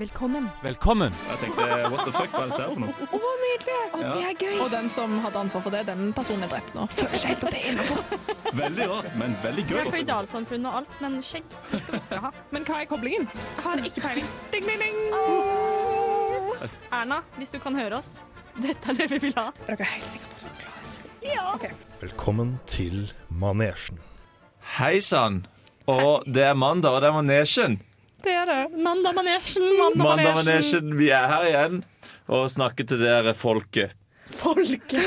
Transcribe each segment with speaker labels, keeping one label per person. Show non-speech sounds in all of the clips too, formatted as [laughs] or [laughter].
Speaker 1: Velkommen.
Speaker 2: Velkommen!
Speaker 3: Jeg tenkte what the fuck, hva er dette her for noe?
Speaker 1: Å, nydelig! Å, Det er gøy.
Speaker 4: Og den som hadde ansvar for det, den personen er drept nå.
Speaker 1: Føler seg helt at det er innafor.
Speaker 3: Veldig rart, men veldig gøy.
Speaker 5: Vi er føydalsamfunn og alt, men skjegg det skal vi ikke ha.
Speaker 4: Men hva er koblingen?
Speaker 5: Jeg har ikke peiling. Ding, ding, ding. Erna, hvis du kan høre oss, dette er det vi vil ha.
Speaker 4: Er dere helt sikre på det?
Speaker 6: Velkommen til manesjen.
Speaker 2: Hei sann! Og det er mandag, og det er manesjen.
Speaker 5: Det er det. Mandamanesjen,
Speaker 2: Mandag manesjen, Vi er her igjen og snakker til dere folket.
Speaker 5: Folket.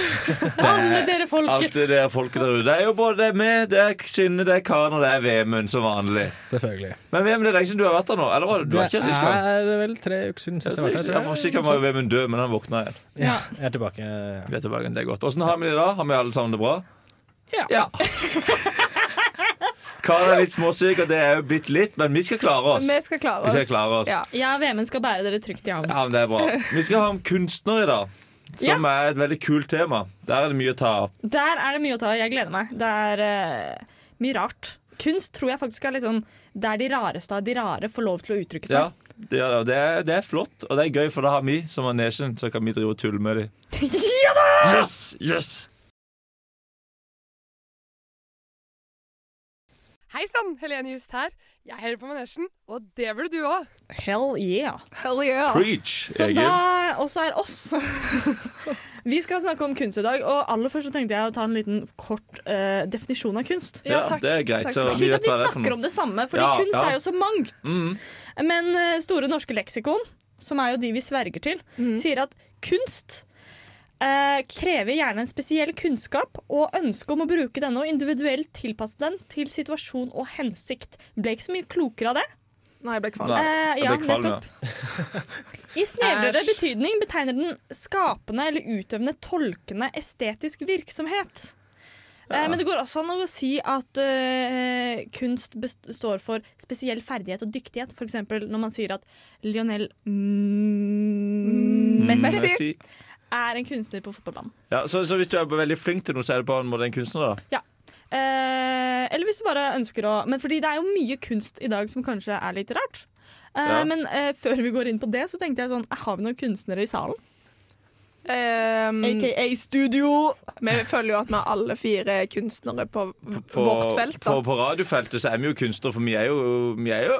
Speaker 2: Alle
Speaker 5: dere
Speaker 2: Alt det der folket der ute. Det er jo både det er meg, det er Synne, det er Karen og det er Vemund som vanlig.
Speaker 6: Selvfølgelig.
Speaker 2: Men Vemund, det er lenge siden du har vært her nå. Eller var det du var ikke her sist gang?
Speaker 6: er vel tre uker siden sist jeg var her.
Speaker 2: Ja, for Sist gang var jo Vemund død, men han våkna igjen.
Speaker 6: Ja, jeg er tilbake.
Speaker 2: Vi er tilbake, det er godt. Åssen har vi det da? Har vi alle sammen det bra?
Speaker 4: Ja.
Speaker 2: [laughs] Karen er litt småsyk, og det er jo blitt litt, men vi skal klare oss.
Speaker 4: Vi skal klare
Speaker 2: Vi
Speaker 4: oss.
Speaker 2: skal klare oss.
Speaker 4: Ja.
Speaker 5: Ja, Vemund skal bære dere trygt i havn.
Speaker 2: Ja, men det er bra. Vi skal ha om kunstner i dag. Som er et veldig kult tema. Der er det mye å ta opp.
Speaker 5: Der er det mye å ta. Jeg gleder meg. Det er eh, mye rart. Kunst tror jeg faktisk er litt sånn Det er de rareste av de rare får lov til å uttrykke
Speaker 2: Ja,
Speaker 5: seg.
Speaker 2: det, er, det, er, det er flott, og det er gøy, for da har vi som er nation, så kan vi drive og tulle med dem.
Speaker 5: [laughs] Ja da!
Speaker 2: Yes! Yes!
Speaker 7: Hei sann, Helene Just her. Jeg hører på Manesjen, og det burde du òg.
Speaker 5: Hell yeah.
Speaker 4: Hell yeah.
Speaker 2: Preach,
Speaker 5: Så
Speaker 2: Egil.
Speaker 5: da også er oss. [laughs] Vi skal snakke om kunst i dag, og aller først så tenkte jeg å ta en liten kort eh, definisjon av kunst.
Speaker 2: Ja, det er greit,
Speaker 4: Takk
Speaker 2: så
Speaker 4: skal du ha.
Speaker 2: vi
Speaker 5: Slik at
Speaker 2: vet
Speaker 5: vi
Speaker 2: hva det er for
Speaker 5: snakker
Speaker 2: noe.
Speaker 5: om det samme, fordi
Speaker 2: Ja,
Speaker 5: kunst
Speaker 2: ja.
Speaker 5: er jo så mangt.
Speaker 2: Mm.
Speaker 5: Men eh, Store norske leksikon, som er jo de vi sverger til,
Speaker 2: Mm.
Speaker 5: sier at kunst eh, krever gjerne en spesiell kunnskap og ønske om å bruke denne og individuelt tilpasse den til situasjon og hensikt. Ble ikke så mye klokere av det.
Speaker 4: Nei, jeg ble kvalm.
Speaker 2: Nei,
Speaker 5: Eh,
Speaker 2: jeg
Speaker 5: ja,
Speaker 2: blir kvalm, ja.
Speaker 5: nettopp. I snevrere
Speaker 4: Æsj.
Speaker 5: betydning betegner den skapende eller utøvende tolkende estetisk virksomhet. Eh, men det går også an å si at eh, kunst består for spesiell ferdighet og dyktighet. F.eks. når man sier at Lionel mm, Messi
Speaker 2: Messi.
Speaker 5: er en kunstner på fotballbanen.
Speaker 2: Ja, så, så hvis du er veldig flink til noe, så er det på en måte en kunstner, da?
Speaker 5: Eh, eller hvis du bare ønsker å Men fordi det er jo mye kunst i dag som kanskje er litt rart. Eh,
Speaker 2: Ja.
Speaker 5: Men eh, før vi går inn på det, så tenkte jeg sånn Har vi noen kunstnere i salen?
Speaker 4: Um,
Speaker 5: AKA Studio.
Speaker 4: vi føler jo at vi er alle fire er kunstnere på, v-
Speaker 2: På,
Speaker 4: vårt felt. da.
Speaker 2: på, på radiofeltet så er vi jo kunstnere, for vi er jo, vi er jo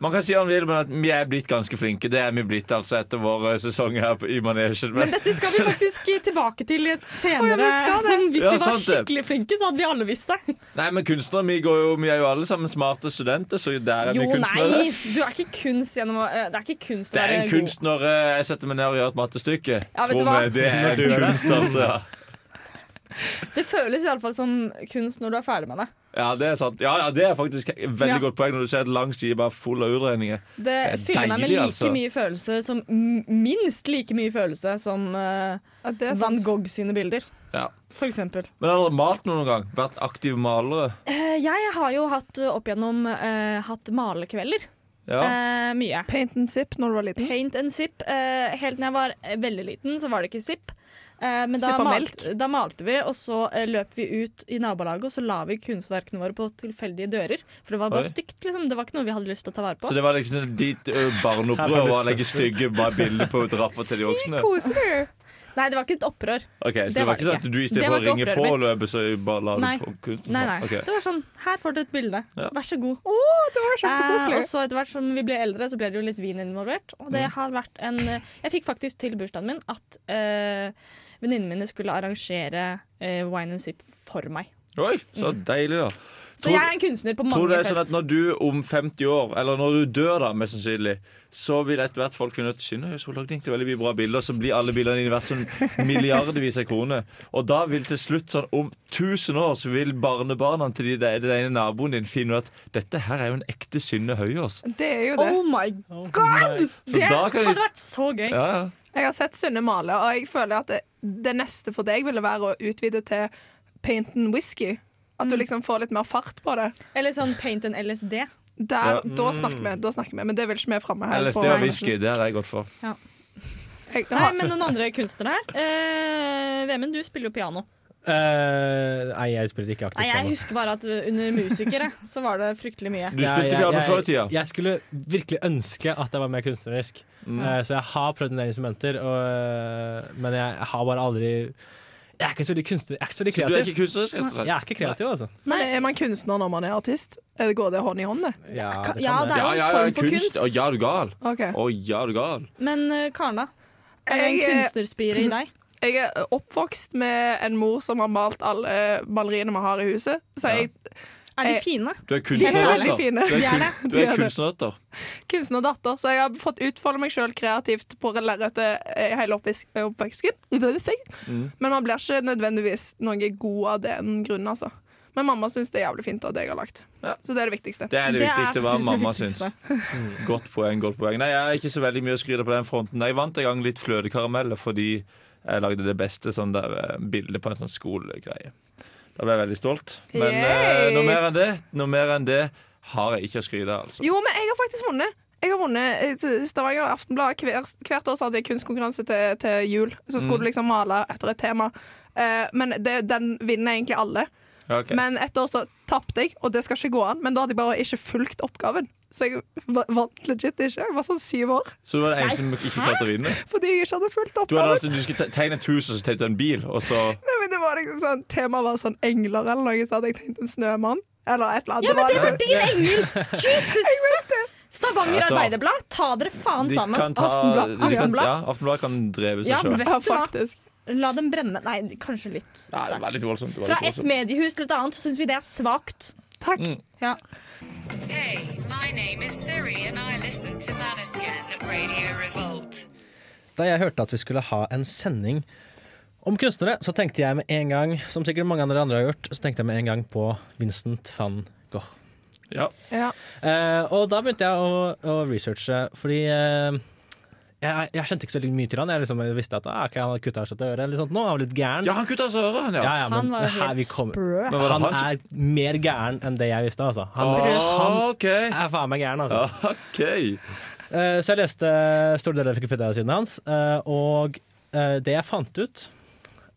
Speaker 2: Man kan si hva man vil, men at vi er blitt ganske flinke. Det er vi blitt altså etter vår eh, sesong her på, i manesjen. Men
Speaker 5: Men dette skal vi faktisk tilbake til i et senere.
Speaker 4: Å, ja, vi skal det.
Speaker 5: som hvis vi
Speaker 2: Ja,
Speaker 5: var
Speaker 2: sant det.
Speaker 5: skikkelig flinke, så hadde vi alle visst det.
Speaker 2: Nei, men kunstnere, vi, går jo, vi er jo alle sammen smarte studenter, så der er vi
Speaker 5: Jo,
Speaker 2: kunstnere.
Speaker 5: nei! Du er ikke kunst gjennom å eh, Det er ikke kunst å
Speaker 2: Det er
Speaker 5: være
Speaker 2: en
Speaker 5: god.
Speaker 2: kunstner eh, jeg setter meg ned og gjør et mattestykke.
Speaker 5: Ja, vet du
Speaker 2: Tror
Speaker 5: hva?
Speaker 2: meg, Det er en kunst, altså.
Speaker 5: Det føles iallfall som kunst når du er ferdig med det.
Speaker 2: Ja, det er sant. Ja, ja, det er faktisk et veldig
Speaker 5: Ja.
Speaker 2: godt poeng når du ser et lang side bare full av utregninger.
Speaker 5: Det,
Speaker 2: er
Speaker 5: fyller meg med
Speaker 2: deilig,
Speaker 5: like
Speaker 2: altså.
Speaker 5: mye følelse som Minst like mye følelse som eh,
Speaker 4: Ja, det er
Speaker 5: Van
Speaker 4: sant.
Speaker 5: Gogh sine bilder.
Speaker 2: Ja.
Speaker 5: For eksempel.
Speaker 2: Men har dere malt noen gang? Vært aktive malere?
Speaker 5: Eh, jeg har jo hatt eh, opp igjennom eh, hatt malekvelder.
Speaker 2: Ja.
Speaker 5: Eh, mye.
Speaker 4: Paint and sip når du var
Speaker 2: Mm.
Speaker 4: liten.
Speaker 5: Paint and sip. eh, helt når jeg var eh, veldig liten, så var det ikke sip. Eh, men da,
Speaker 4: Sip av
Speaker 5: malte- da malte vi, og så eh, løp vi ut i nabolaget og så la vi kunstverkene våre på tilfeldige dører. For det var bare
Speaker 2: Oi.
Speaker 5: stygt. liksom. Det var ikke noe vi hadde lyst til å ta vare på.
Speaker 2: Så det var liksom sånn ditt ø, barneopprør var å legge stygge bare bilder på drapper til de voksne?
Speaker 4: Koser du?
Speaker 5: Nei, det var ikke et opprør.
Speaker 2: Ok, Så
Speaker 5: Det
Speaker 2: det
Speaker 5: var
Speaker 2: var ikke sånn at du
Speaker 5: Det
Speaker 2: istedenfor
Speaker 5: var
Speaker 2: å
Speaker 5: ikke
Speaker 2: ringe
Speaker 5: opprøret
Speaker 2: på og
Speaker 5: mitt.
Speaker 2: løpe, så bare la
Speaker 5: Nei.
Speaker 2: du på kunsten?
Speaker 5: Nei, nei.
Speaker 2: Ok.
Speaker 5: Det var sånn Her får du et bilde.
Speaker 2: Ja.
Speaker 5: Vær så god.
Speaker 4: Det
Speaker 5: Eh,
Speaker 4: var
Speaker 5: og
Speaker 4: kjempekoselig.
Speaker 5: så etter hvert som vi ble eldre, så ble det jo litt vin involvert. Og
Speaker 2: Mm.
Speaker 5: det har vært en eh, Jeg fikk faktisk til bursdagen min at eh, venninnene mine skulle arrangere eh, wine and sip for meg.
Speaker 2: Oi, så deilig, da.
Speaker 5: Så
Speaker 2: Tror-
Speaker 5: jeg er en kunstner på Mm. mange
Speaker 2: Tror du det er
Speaker 5: felt.
Speaker 2: sånn at når du om 50 år, eller når du dør da, mest sannsynlig, så vil etter hvert folk finne ut Synnøve, hun lagde egentlig veldig mye bra bilder, så blir alle bildene dine verdt sånn milliardvis av kroner. Og da vil til slutt, sånn om 1000 år, så vil barnebarna til de- den ene naboen din finne ut at dette her er jo en ekte altså». Synne Høyås.
Speaker 4: Det er jo det.
Speaker 5: Oh my god!
Speaker 2: Så
Speaker 5: Det
Speaker 2: da kan
Speaker 5: hadde
Speaker 2: de
Speaker 5: vært så gøy.
Speaker 2: ja, ja.
Speaker 4: Jeg har sett Sunne male, og jeg føler at det, det neste for deg ville være å utvide til paint and whisky. At du liksom får litt mer fart på det.
Speaker 5: Eller sånn paint and LSD.
Speaker 4: Der,
Speaker 2: Ja.
Speaker 4: Da snakker vi, da snakker vi, men det vil ikke vi framme her.
Speaker 2: LSD
Speaker 4: på-
Speaker 2: og whisky, det hadde jeg gått for.
Speaker 4: Jeg,
Speaker 5: Nei, men noen andre kunstnere her. Eh, Vemund, du spiller jo piano.
Speaker 6: Eh, nei, jeg spiller ikke aktivt.
Speaker 5: Nei, jeg
Speaker 6: piano.
Speaker 5: husker bare at uh, under musikere så var det fryktelig mye.
Speaker 2: Du
Speaker 6: Ja,
Speaker 2: spilte
Speaker 6: jeg-
Speaker 2: piano
Speaker 6: jeg-
Speaker 2: før i tida.
Speaker 6: Jeg skulle virkelig ønske at jeg var mer kunstnerisk.
Speaker 2: Mm.
Speaker 6: Eh, så jeg har prøvd en del instrumenter, og, eh, men jeg, har bare aldri Jeg er ikke så veldig kunstner, jeg er ikke så veldig
Speaker 2: Så du er
Speaker 6: kreativ.
Speaker 2: ikke kunstnerisk, rett og slett?
Speaker 6: Jeg er ikke kreativ, altså.
Speaker 4: Men er man kunstner når man er artist? Er det- Går det hånd i hånd, det?
Speaker 6: Ja, det kan
Speaker 5: ja,
Speaker 6: jeg.
Speaker 5: det er jo en form for kunst.
Speaker 2: Å, ja, du gal.
Speaker 4: Ok.
Speaker 2: Å, ja, du gal.
Speaker 5: Men uh, Karna, er det en
Speaker 4: Jeg, eh,
Speaker 5: kunstnerspire i deg?
Speaker 4: Jeg er oppvokst med en mor som har malt alle maleriene vi har i huset. Så jeg,
Speaker 5: Er de
Speaker 4: Eh,
Speaker 5: fine?
Speaker 2: Du er
Speaker 4: de er veldig
Speaker 2: kunstnerdatter.
Speaker 4: fine.
Speaker 2: Du er,
Speaker 5: De er det.
Speaker 2: kun, du
Speaker 4: De
Speaker 2: er
Speaker 4: er det.
Speaker 2: kunstnerdatter.
Speaker 4: kunstnerdatter, så jeg har fått utfolde meg sjøl kreativt på lerretet eh, hele oppvis- oppveksten.
Speaker 2: Mm.
Speaker 4: Men man blir ikke nødvendigvis noe god av den grunnen, altså. Men mamma syns det er jævlig fint at jeg har lagt.
Speaker 2: Ja.
Speaker 4: Så det er det viktigste.
Speaker 2: Det er det
Speaker 5: Det er
Speaker 2: viktigste hva
Speaker 5: faktisk det
Speaker 2: mamma syns. Mm.
Speaker 5: viktigste.
Speaker 2: Godt poeng. godt poeng Nei, Jeg har ikke så veldig mye å skryte på den fronten. Jeg vant en gang litt flødekarameller fordi jeg lagde det beste sånn der eh, bildet på en sånn skolegreie. Da ble jeg veldig stolt. Men eh,
Speaker 4: Yay!
Speaker 2: noe mer enn det Noe mer enn det har jeg ikke å skryte av. Altså.
Speaker 4: Jo, men jeg har faktisk vunnet. Jeg har vunnet eh, Stavanger Aftenblad. Hver, hvert år så hadde jeg kunstkonkurranse til, til jul. Så skulle
Speaker 2: Mm.
Speaker 4: du liksom male etter et tema. Eh, men det, den vinner egentlig alle.
Speaker 2: Ja, ok.
Speaker 4: Men et år så tapte jeg, og det skal ikke gå an. Men da hadde jeg bare ikke fulgt oppgaven. Så jeg va- vant legit ikke. Jeg var sånn syv år
Speaker 2: Så du var den eneste som ikke klarte å vinne?
Speaker 4: fordi jeg ikke hadde fulgt
Speaker 2: Du, hadde
Speaker 4: oppgaven.
Speaker 2: altså, du skulle te- tegne et hus, og så tegnet du en bil, og så
Speaker 4: Nei, men det var liksom sånn, Temaet var sånn engler eller noe, så hadde jeg tenkt en snømann. Eller et eller annet.
Speaker 5: Ja, men
Speaker 4: var
Speaker 5: det var
Speaker 4: liksom-
Speaker 5: din engel!
Speaker 2: [laughs]
Speaker 5: Jesus fuck! Stavanger
Speaker 2: Ja, så-
Speaker 5: Arbeiderblad, ta dere faen
Speaker 2: De
Speaker 5: sammen.
Speaker 2: kan ta
Speaker 4: Aftenblad.
Speaker 2: de kan-
Speaker 5: Aftenblad.
Speaker 2: Ja, Aftenblad kan dreve seg
Speaker 5: Ja,
Speaker 2: sjøl.
Speaker 5: vet
Speaker 4: ja,
Speaker 5: du hva?
Speaker 4: faktisk.
Speaker 5: La dem brenne. Nei, kanskje litt
Speaker 2: det
Speaker 5: sterkt.
Speaker 2: var litt voldsomt. det var
Speaker 5: Fra
Speaker 2: litt
Speaker 5: ett
Speaker 2: voldsomt.
Speaker 5: mediehus til et annet så syns vi det er svakt.
Speaker 4: Takk.
Speaker 2: Mm.
Speaker 5: Ja.
Speaker 8: Hey, my name is Siri and I listen to Manasian Radio Revolt.
Speaker 6: Da jeg hørte at vi skulle ha en sending om kunstnere, så tenkte jeg med en gang, som sikkert mange andre andre har gjort, så tenkte jeg med en gang på Vincent van Gogh.
Speaker 2: Ja.
Speaker 4: Ja.
Speaker 6: Eh, og da begynte jeg å, å researche, fordi eh, jeg, jeg kjente ikke så veldig mye til han. Jeg liksom visste at ah, ok, han hadde kutta av seg et øre eller sånt nå, han var litt gæren.
Speaker 2: ja, han kutta seg øret, han, ja.
Speaker 6: ja, ja, men
Speaker 5: Han var jo
Speaker 6: her vi
Speaker 5: helt
Speaker 6: kommer-
Speaker 5: sprø.
Speaker 2: Men var det
Speaker 6: han
Speaker 2: han som-
Speaker 6: er mer gæren enn det jeg visste, altså. Han, han
Speaker 2: Ah, OK.
Speaker 6: er faen meg gæren, altså.
Speaker 2: Ja, ok.
Speaker 6: Eh, så jeg leste store deler av Wikipedia-siden hans, eh, og eh, det jeg fant ut,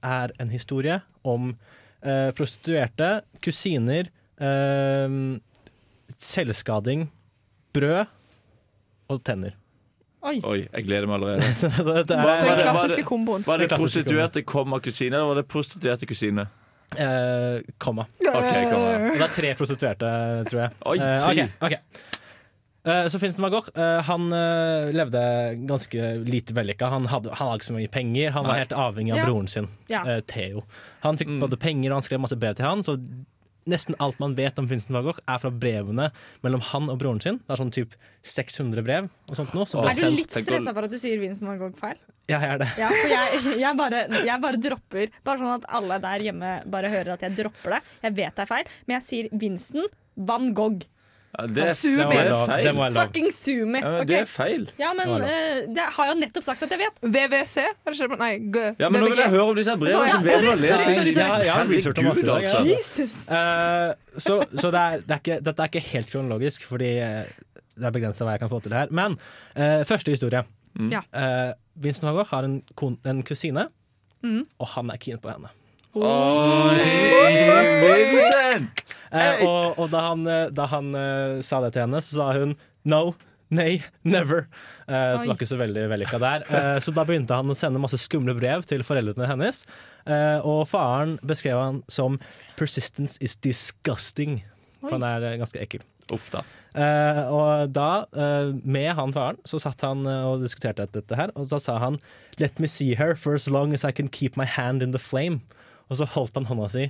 Speaker 6: er en historie om eh, prostituerte, kusiner, eh, selvskading, brød og tenner. [laughs]
Speaker 2: Oi, jeg gleder meg allerede.
Speaker 6: Dette
Speaker 2: Hva-
Speaker 6: er,
Speaker 2: hva-
Speaker 4: Den
Speaker 2: det-
Speaker 4: klassiske
Speaker 2: det-
Speaker 4: komboen.
Speaker 2: Var det
Speaker 6: Det er klassisk,
Speaker 2: prostituerte komma kusine, eller var det prostituerte kusine?
Speaker 6: Eh, komma.
Speaker 2: Ok, komma.
Speaker 6: Og det er tre prostituerte, tror jeg.
Speaker 2: Oi,
Speaker 6: Eh,
Speaker 2: tre.
Speaker 6: ok, ok. Eh, så Vincent van Gogh eh, han eh, levde ganske lite vellykka. Han hadde, han hadde ikke så mye penger. Han
Speaker 2: Nei.
Speaker 6: var helt avhengig av
Speaker 5: Ja.
Speaker 6: broren sin,
Speaker 5: Ja.
Speaker 6: eh, Theo. Han fikk
Speaker 2: Mm.
Speaker 6: både penger og han skrev masse brev til han. Så nesten alt man vet om Vincent van Gogh, er fra brevene mellom han og broren sin. Det er sånn typ 600 brev og sånt nå,
Speaker 2: Oi.
Speaker 6: som ble
Speaker 5: Er du
Speaker 2: Selv-
Speaker 6: sendt.
Speaker 5: litt
Speaker 2: tenk å-
Speaker 5: stressa for at du sier Vincent van Gogh feil?
Speaker 6: Ja, jeg er det.
Speaker 5: Ja, for jeg, jeg, bare, jeg bare dropper. Bare sånn at alle der hjemme bare hører at jeg dropper det. Jeg vet det er feil, men jeg sier Vincent van Gogh.
Speaker 2: Ja, det, er-
Speaker 4: Sumi.
Speaker 6: Det må
Speaker 2: det
Speaker 6: være
Speaker 2: er
Speaker 6: lov.
Speaker 2: feil.
Speaker 6: Det må være lov.
Speaker 5: Fucking Sumi.
Speaker 2: Ja, men
Speaker 5: ok?
Speaker 2: Det er feil.
Speaker 5: Ja, men
Speaker 6: Det var lov.
Speaker 5: eh, det har jeg jo nettopp sagt at jeg vet.
Speaker 4: VVC? Er det ikke, nei, G.
Speaker 2: Ja, men Nå vil jeg
Speaker 4: VVG.
Speaker 2: høre om disse her brevene
Speaker 5: Sorry,
Speaker 2: som
Speaker 5: ja,
Speaker 2: Vebjørn har
Speaker 5: sorry,
Speaker 2: lest.
Speaker 5: sorry, sorry, sorry.
Speaker 6: Ja, jeg har researchet om masse i
Speaker 2: Herregud,
Speaker 6: dag,
Speaker 2: altså.
Speaker 5: Jesus.
Speaker 6: Eh, så så det er, det er ikke, dette er ikke helt kronologisk, fordi eh, det er begrensa hva jeg kan få til her. Men eh, første historie.
Speaker 2: Mm.
Speaker 5: Ja.
Speaker 6: Eh, Vincent van Gogh har en, kon en kusine,
Speaker 5: Mm.
Speaker 6: og han er keen på henne.
Speaker 2: Oi, Vincent!
Speaker 6: Eh, og, og da han, eh, da han eh, sa det til henne, så sa hun no. Nei, never! Eh, så det var ikke så veldig vellykka der. Eh, så da begynte han å sende masse skumle brev til foreldrene hennes. Eh, og faren beskrev han som 'persistence is disgusting', for han er eh, ganske ekkel.
Speaker 2: Uff da.
Speaker 6: Eh, og da, eh, med han faren, så satt han eh, og diskuterte dette her, og da sa han Let me see her for as long as I can keep my hand in the flame. Og så holdt han hånda si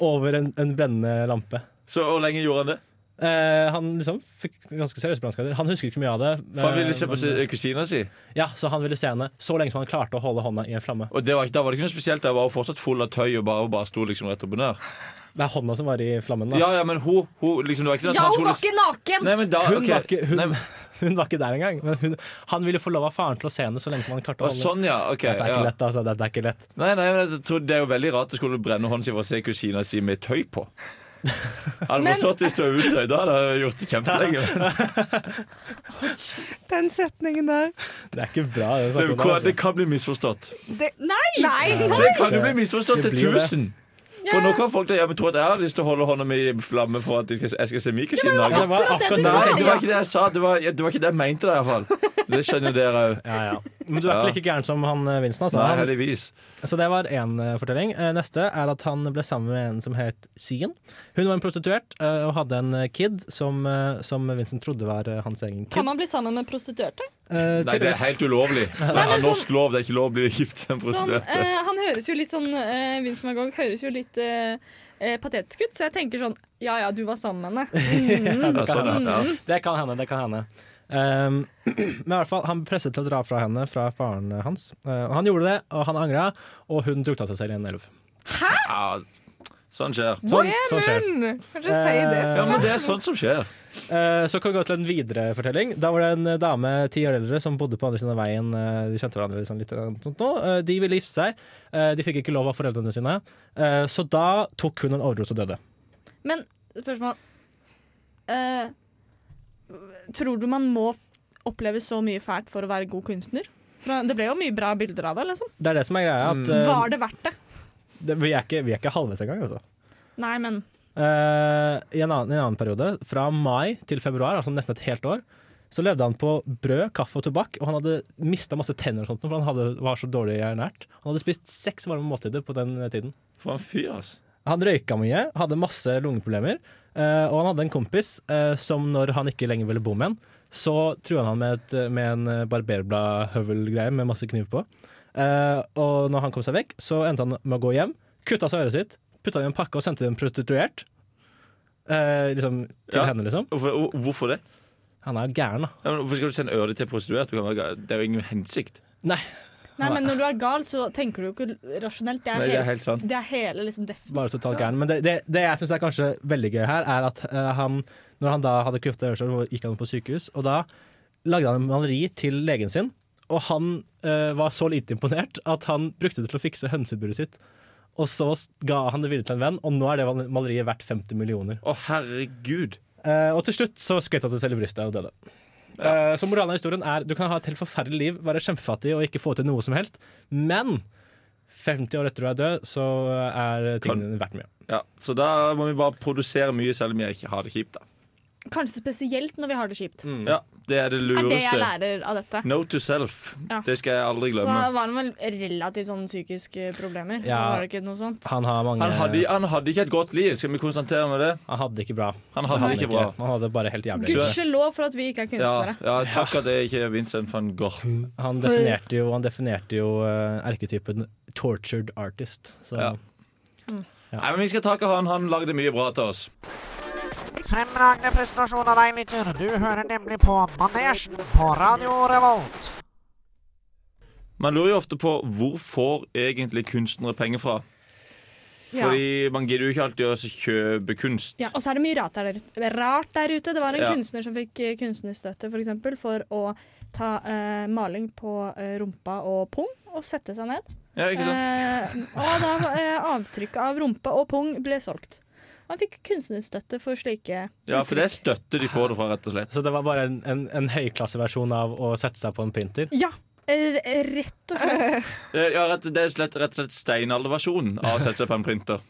Speaker 6: over en, en brennende lampe.
Speaker 2: Så hvor lenge gjorde han det?
Speaker 6: Eh, han liksom fikk ganske seriøse brannskader. Han husker ikke mye av det.
Speaker 2: For han ville se på
Speaker 6: eh,
Speaker 2: si-
Speaker 6: men-
Speaker 2: kusina si.
Speaker 6: ja, Så han ville se henne så lenge som han klarte å holde hånda i en flamme.
Speaker 2: Og det var ikke, Da var det ikke noe spesielt. Jeg var jo fortsatt full av tøy og bare, og bare sto liksom rett opp og ned.
Speaker 6: Det er hånda som var i flammen, da.
Speaker 2: Ja, ja, men hun, hun liksom, Det var ikke det at
Speaker 5: Ja,
Speaker 2: han
Speaker 5: hun
Speaker 2: skulle
Speaker 5: var ikke naken!
Speaker 2: Nei, men da,
Speaker 6: Hun,
Speaker 2: ok.
Speaker 6: var ikke, hun,
Speaker 2: Nei, men-
Speaker 6: [laughs] hun var ikke der engang. Men hun, han ville få lov av faren til å se henne så lenge som han klarte
Speaker 2: Å,
Speaker 6: å holde
Speaker 2: sånn, ja. ok
Speaker 6: Dette er
Speaker 2: ja.
Speaker 6: ikke lett, altså. Dette er ikke lett.
Speaker 2: Nei, nei, men jeg tror Det er jo veldig rart å skulle brenne hånden sin for å se kusina si med tøy
Speaker 6: [laughs]
Speaker 2: på. Hadde
Speaker 5: Men-
Speaker 2: forstått hvis du var utøyd, da hadde jeg gjort det kjempelenge.
Speaker 4: Den setningen der.
Speaker 6: Det er
Speaker 2: Det,
Speaker 6: ikke bra. Det, vi snakker om
Speaker 2: kan-
Speaker 6: der,
Speaker 2: det kan bli misforstått.
Speaker 4: Det,
Speaker 5: Nei,
Speaker 4: Nei!
Speaker 2: Det kan jo bli misforstått
Speaker 6: Det
Speaker 2: til
Speaker 6: blir jo det.
Speaker 2: 1000. For nå kan folk der hjemme tro at jeg har lyst til å holde hånda mi i flamme for at jeg skal, jeg skal se Mikkel sin
Speaker 6: Ja,
Speaker 2: nage.
Speaker 6: det var akkurat det
Speaker 2: Nei,
Speaker 6: jeg
Speaker 2: det
Speaker 6: tenkte.
Speaker 2: var ikke det jeg sa. Det var, det var ikke det jeg mente, i hvert fall. Det skjønner jo dere òg.
Speaker 6: Ja, ja. Men du er
Speaker 2: Ja.
Speaker 6: ikke like gæren som han eh, Vincent. Altså.
Speaker 2: Nei,
Speaker 6: Han-
Speaker 2: heldigvis.
Speaker 6: Så det var én fortelling. Eh, Neste er at han ble sammen med en som het Sien. Hun var en prostituert eh, og hadde en eh, kid som, eh, som Vincent trodde var eh, hans egen
Speaker 5: Kan
Speaker 6: kid.
Speaker 5: man bli sammen med prostituerte?
Speaker 6: Eh,
Speaker 2: Nei, det er
Speaker 6: tydeligvis.
Speaker 2: helt ulovlig. Det er norsk lov. Det er ikke lov å bli gift med en
Speaker 5: Sånn,
Speaker 2: prostituert.
Speaker 5: eh, han høres jo litt sånn eh, Vince McGogh høres jo litt eh, eh, patetisk ut, så jeg tenker sånn Ja ja, du var sammen med henne.
Speaker 2: Ja,
Speaker 6: eh,
Speaker 2: sånn, ja. ja.
Speaker 6: Det kan hende, det kan hende. Ehm, [clears throat] men i hvert fall, han ble presset til å dra fra henne fra faren hans. Eh, og han gjorde det, og han angra, og hun drukna seg selv i en elv.
Speaker 2: ja. Sånn skjer.
Speaker 6: Sånn, sånn skjer.
Speaker 4: Men, kan ikke si det.
Speaker 2: Ja, men det er sånn som skjer.
Speaker 6: Eh, så kan vi gå til en videre fortelling. Da var det en eh, dame ti år eldre som bodde på andre siden av veien. Eh, de kjente hverandre liksom litt. eller noe sånt nå. Eh, de ville gifte seg. Eh, de fikk ikke lov av foreldrene sine, Eh, så da tok hun en overdose og døde.
Speaker 5: Men spørsmål eh, Tror du man må f- oppleve så mye fælt for å være god kunstner? For det ble jo mye bra bilder av det, liksom.
Speaker 6: Det er det som er greia. At, eh,
Speaker 5: Mm. Var det verdt det?
Speaker 6: det, vi, er ikke, vi er ikke halvveis engang, altså.
Speaker 5: Nei, men
Speaker 6: Eh, i, en annen, I en annen periode, fra mai til februar, altså nesten et helt år, så levde han på brød, kaffe og tobakk, og han hadde mista masse tenner, og sånt, for han hadde, var så dårlig ernært. Han hadde spist seks varme måltider på den tiden.
Speaker 2: For en fyr, altså.
Speaker 6: Han røyka mye, hadde masse lungeproblemer, eh, og han hadde en kompis eh, som når han ikke lenger ville bo med en, så trua han med, et, med en eh, barberbladhøvelgreie med masse kniv på. Eh, og når han kom seg vekk, så endte han med å gå hjem, kutta seg øret sitt, putta det i en pakke og sendte det til en prostituert. Eh, liksom til
Speaker 2: Ja.
Speaker 6: henne, liksom.
Speaker 2: Hvorfor, hvorfor det?
Speaker 6: Han er jo gæren, da.
Speaker 2: Ja, men Hvorfor skal du sende øret til en prostituert? Du kan være ga- Det er jo ingen hensikt.
Speaker 6: Nei,
Speaker 5: Nei, men når du er gal, så tenker du jo ikke rasjonelt. Det er,
Speaker 2: Nei, det er
Speaker 5: hele,
Speaker 2: helt sant.
Speaker 5: det er hele liksom defen.
Speaker 6: bare totalt gæren. Men det, det, det jeg syns er kanskje veldig gøy her, er at eh, han Når han da hadde kuttet øret, så gikk han på sykehus, og da lagde han en maleri til legen sin. Og han eh, var så lite imponert at han brukte det til å fikse hønseburet sitt. Og så ga han det videre til en venn, og nå er det maleriet verdt 50 millioner.
Speaker 2: Å, herregud.
Speaker 6: Eh, og til slutt så skvett han seg selv i brystet og døde. Eh, så moralen av historien er du kan ha et helt forferdelig liv, være kjempefattig og ikke få til noe som helst, men 50 år etter du er død, så er
Speaker 2: Kan-
Speaker 6: tingene dine verdt mye.
Speaker 2: Ja, Så da må vi bare produsere mye selv om jeg ikke har det kjipt, da.
Speaker 5: Kanskje spesielt når vi har det kjipt.
Speaker 2: Ja, Det er Mm. det
Speaker 5: er det jeg
Speaker 2: lureste.
Speaker 5: lærer av dette.
Speaker 2: Note to self.
Speaker 5: Ja.
Speaker 2: Det skal jeg aldri
Speaker 5: Så
Speaker 2: glemme.
Speaker 5: var det vel relativt sånn psykiske problemer.
Speaker 6: Ja.
Speaker 5: Var det ikke noe sånt?
Speaker 6: Han har mange
Speaker 2: Han hadde, han hadde ikke et godt liv, skal vi konstatere med det?
Speaker 6: Han hadde det ikke bra.
Speaker 2: Han hadde det ikke bra.
Speaker 6: Han hadde det bare helt jævlig.
Speaker 2: Gud.
Speaker 5: Gudskjelov for at vi ikke er
Speaker 2: Ja,
Speaker 5: kunstnere.
Speaker 2: ja, takk at det ikke er Vincent van Gogh.
Speaker 6: Han definerte jo, han definerte jo eh, erketypen 'tortured artist'. Så
Speaker 2: Ja. Nei, men Vi skal takke han. Han lagde mye bra til oss.
Speaker 9: Fremragende presentasjon av deg, lytter. Du hører nemlig på Manesjen på Radio Revolt.
Speaker 2: Man lurer jo ofte på hvor får egentlig kunstnere penger fra? Fordi man gidder jo ikke alltid å kjøpe kunst.
Speaker 5: Ja, og så er det mye rart der, rart der ute. Det var en
Speaker 2: Ja.
Speaker 5: kunstner som fikk eh, kunstnerstøtte for, eksempel, for å ta eh, maling på eh, rumpa og pung og sette seg ned.
Speaker 2: Ja, ikke sant?
Speaker 5: Eh, og da eh, avtrykket av rumpe og pung ble solgt. Og Han fikk kunstnerstøtte for slike
Speaker 2: Ja, For det er støtte de får det fra, rett og slett.
Speaker 6: Så det var bare en, en, en høyklasseversjon av å sette seg på en printer.
Speaker 5: Ja, eh, rett og slett.
Speaker 2: Eh, Ja, rett, Det er slett, rett og slett steinalderversjonen av å sette seg på en printer.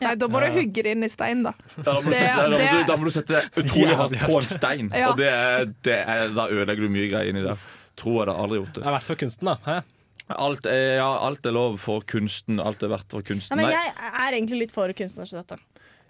Speaker 4: Nei, da må du hugge det inn i stein, da.
Speaker 2: Ja, da, må du
Speaker 4: Det-
Speaker 2: sette, da, må
Speaker 4: det-
Speaker 2: du, da må du sette deg utrolig hardt
Speaker 6: Jævlig
Speaker 2: på en stein,
Speaker 4: Ja.
Speaker 2: og det er, det er, da ødelegger du mye greier inni der. Tror jeg da aldri gjort
Speaker 6: Det
Speaker 2: det.
Speaker 6: er verdt for kunsten, da. Hæ?
Speaker 2: Alt er, ja, alt er lov for kunsten. Alt er verdt for
Speaker 5: Nei,
Speaker 2: kunsten.
Speaker 5: men
Speaker 2: Nei,
Speaker 5: jeg er egentlig litt for kunstnerstøtte.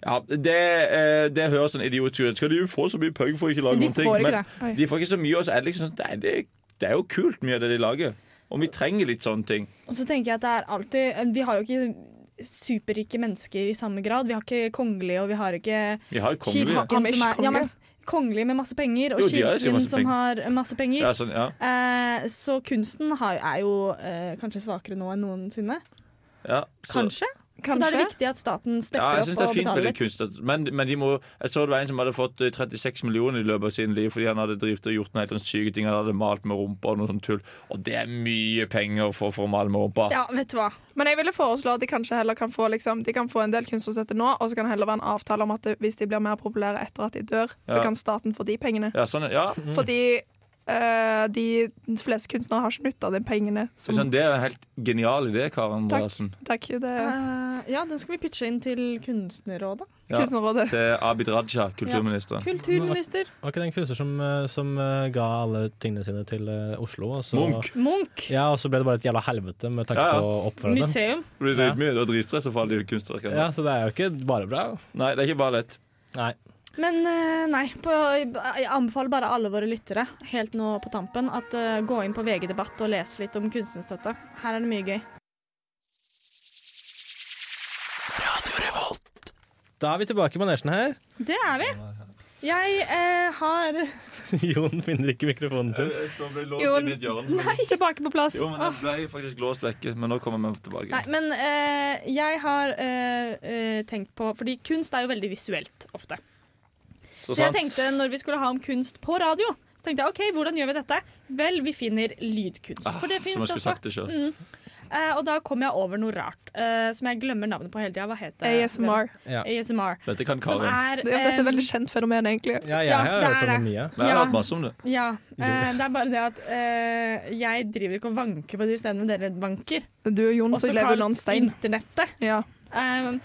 Speaker 2: ja, det, eh, det høres sånn idiotisk ut. Skal de jo få så mye penger for å ikke lage
Speaker 5: De
Speaker 2: noen ting?
Speaker 5: får ikke
Speaker 2: men de får ikke så mye, og så er det liksom sånn Nei, det, det er jo kult mye av det de lager. Og vi trenger litt sånne ting.
Speaker 5: Og så tenker jeg at det er alltid eh, Vi har jo ikke superrike mennesker i samme grad. Vi har ikke kongelige, og vi har ikke
Speaker 2: Vi har jo
Speaker 5: Kir-
Speaker 2: kongelige.
Speaker 5: han som er,
Speaker 4: Kongelige.
Speaker 5: ja, men, kongelige med masse penger, og
Speaker 2: Jo, de har jo sikkert
Speaker 5: kirken
Speaker 2: masse
Speaker 5: som
Speaker 2: penger.
Speaker 5: har masse penger.
Speaker 2: Ja, sånn, ja.
Speaker 5: Eh, så kunsten har, er jo eh, kanskje svakere nå enn noensinne.
Speaker 2: Ja, så-
Speaker 5: Kanskje. Så da er det viktig at staten
Speaker 2: Ja,
Speaker 5: stepper
Speaker 2: jeg synes
Speaker 5: opp
Speaker 2: det
Speaker 5: og
Speaker 2: er fint med
Speaker 5: betaler
Speaker 2: det
Speaker 5: litt.
Speaker 2: kunst, men, men de må, jeg så det var en som hadde fått eh, 36 millioner i løpet av sin liv fordi han hadde drivet og gjort noen helt sånn syke ting. Han hadde malt med rumpa og noe sånt tull. Og det er mye penger for, for å male med rumpa.
Speaker 5: Ja, vet du hva.
Speaker 4: Men jeg ville foreslå at de kanskje heller kan få, liksom, de kan få en del kunstnerstøtte nå, og så kan det heller være en avtale om at det, hvis de blir mer populære etter at de dør, så
Speaker 2: Ja.
Speaker 4: kan staten få de pengene.
Speaker 2: Ja, sånn, ja.
Speaker 4: Fordi eh, eh, de fleste kunstnere har ikke nytte av de pengene. Som,
Speaker 2: Sånn, det er en helt genial idé, Karen
Speaker 4: Takk.
Speaker 2: Andreassen.
Speaker 4: Takk. Det er
Speaker 5: Eh, ja, den skal vi pitche inn til Kunstnerrådet.
Speaker 2: Ja,
Speaker 4: Kunstnerrådet.
Speaker 2: til Abid Raja, kulturministeren.
Speaker 5: Kulturminister
Speaker 6: Var ikke det en kunstner som, eh, som eh, ga alle tingene sine til eh, Oslo? Og så,
Speaker 3: Munch.
Speaker 5: Munch.
Speaker 6: Ja, og så ble det bare et jævla helvete med tanke
Speaker 2: Ja, ja.
Speaker 6: på å oppføre dem.
Speaker 5: Museum.
Speaker 2: Det blir dritmye. Det er dritstress å få alle de kunstverkene.
Speaker 6: Ja, så det er jo ikke bare bra.
Speaker 2: Nei, det er ikke bare lett.
Speaker 6: Nei.
Speaker 5: Men eh, nei, på, eh, jeg anbefaler bare alle våre lyttere helt nå på tampen at eh, gå inn på VG Debatt og les litt om kunstnerstøtta. Her er det mye gøy.
Speaker 6: Da er vi tilbake i manesjen her. [laughs]
Speaker 5: Det er vi. Jeg eh, har
Speaker 6: Jon finner ikke mikrofonen sin.
Speaker 2: Så ble låst
Speaker 5: Jo,
Speaker 2: inn i et hjørne.
Speaker 5: tilbake på plass.
Speaker 2: Jo, men jeg ble faktisk låst vekke, men nå kommer vi tilbake.
Speaker 5: Nei, men eh, jeg har eh, eh, tenkt på Fordi kunst er jo veldig visuelt ofte.
Speaker 2: Så
Speaker 5: Så jeg
Speaker 2: sant.
Speaker 5: tenkte når vi skulle ha om kunst på radio, så tenkte jeg OK, hvordan gjør vi dette? Vel, vi finner lydkunst.
Speaker 2: Ah,
Speaker 5: for det
Speaker 2: Som
Speaker 5: finnes
Speaker 2: jeg
Speaker 5: det
Speaker 2: skulle
Speaker 5: også.
Speaker 2: sagt det sjøl.
Speaker 5: Eh, og da kom jeg over noe rart eh, som jeg glemmer navnet på hele tida. Hva heter det?
Speaker 4: ASMR.
Speaker 6: Ja.
Speaker 5: ASMR.
Speaker 2: Dette kan
Speaker 5: Som
Speaker 2: Karin.
Speaker 5: er
Speaker 4: [laughs] Det, dette er et
Speaker 5: em,
Speaker 4: veldig kjent fenomen, egentlig.
Speaker 6: Ja, jeg
Speaker 5: Ja,
Speaker 6: har
Speaker 5: det er
Speaker 6: hørt om det
Speaker 5: det.
Speaker 6: mye.
Speaker 2: Men jeg har
Speaker 5: ja.
Speaker 2: hatt masse om det.
Speaker 5: Ja. eh, det er bare det at eh, jeg driver ikke og vanker på de stedene dere vanker.
Speaker 4: Du og Jon
Speaker 5: Også
Speaker 4: som Mm, lever under en
Speaker 5: kalt
Speaker 4: stein.
Speaker 5: internettet.
Speaker 4: Ja.
Speaker 5: Um,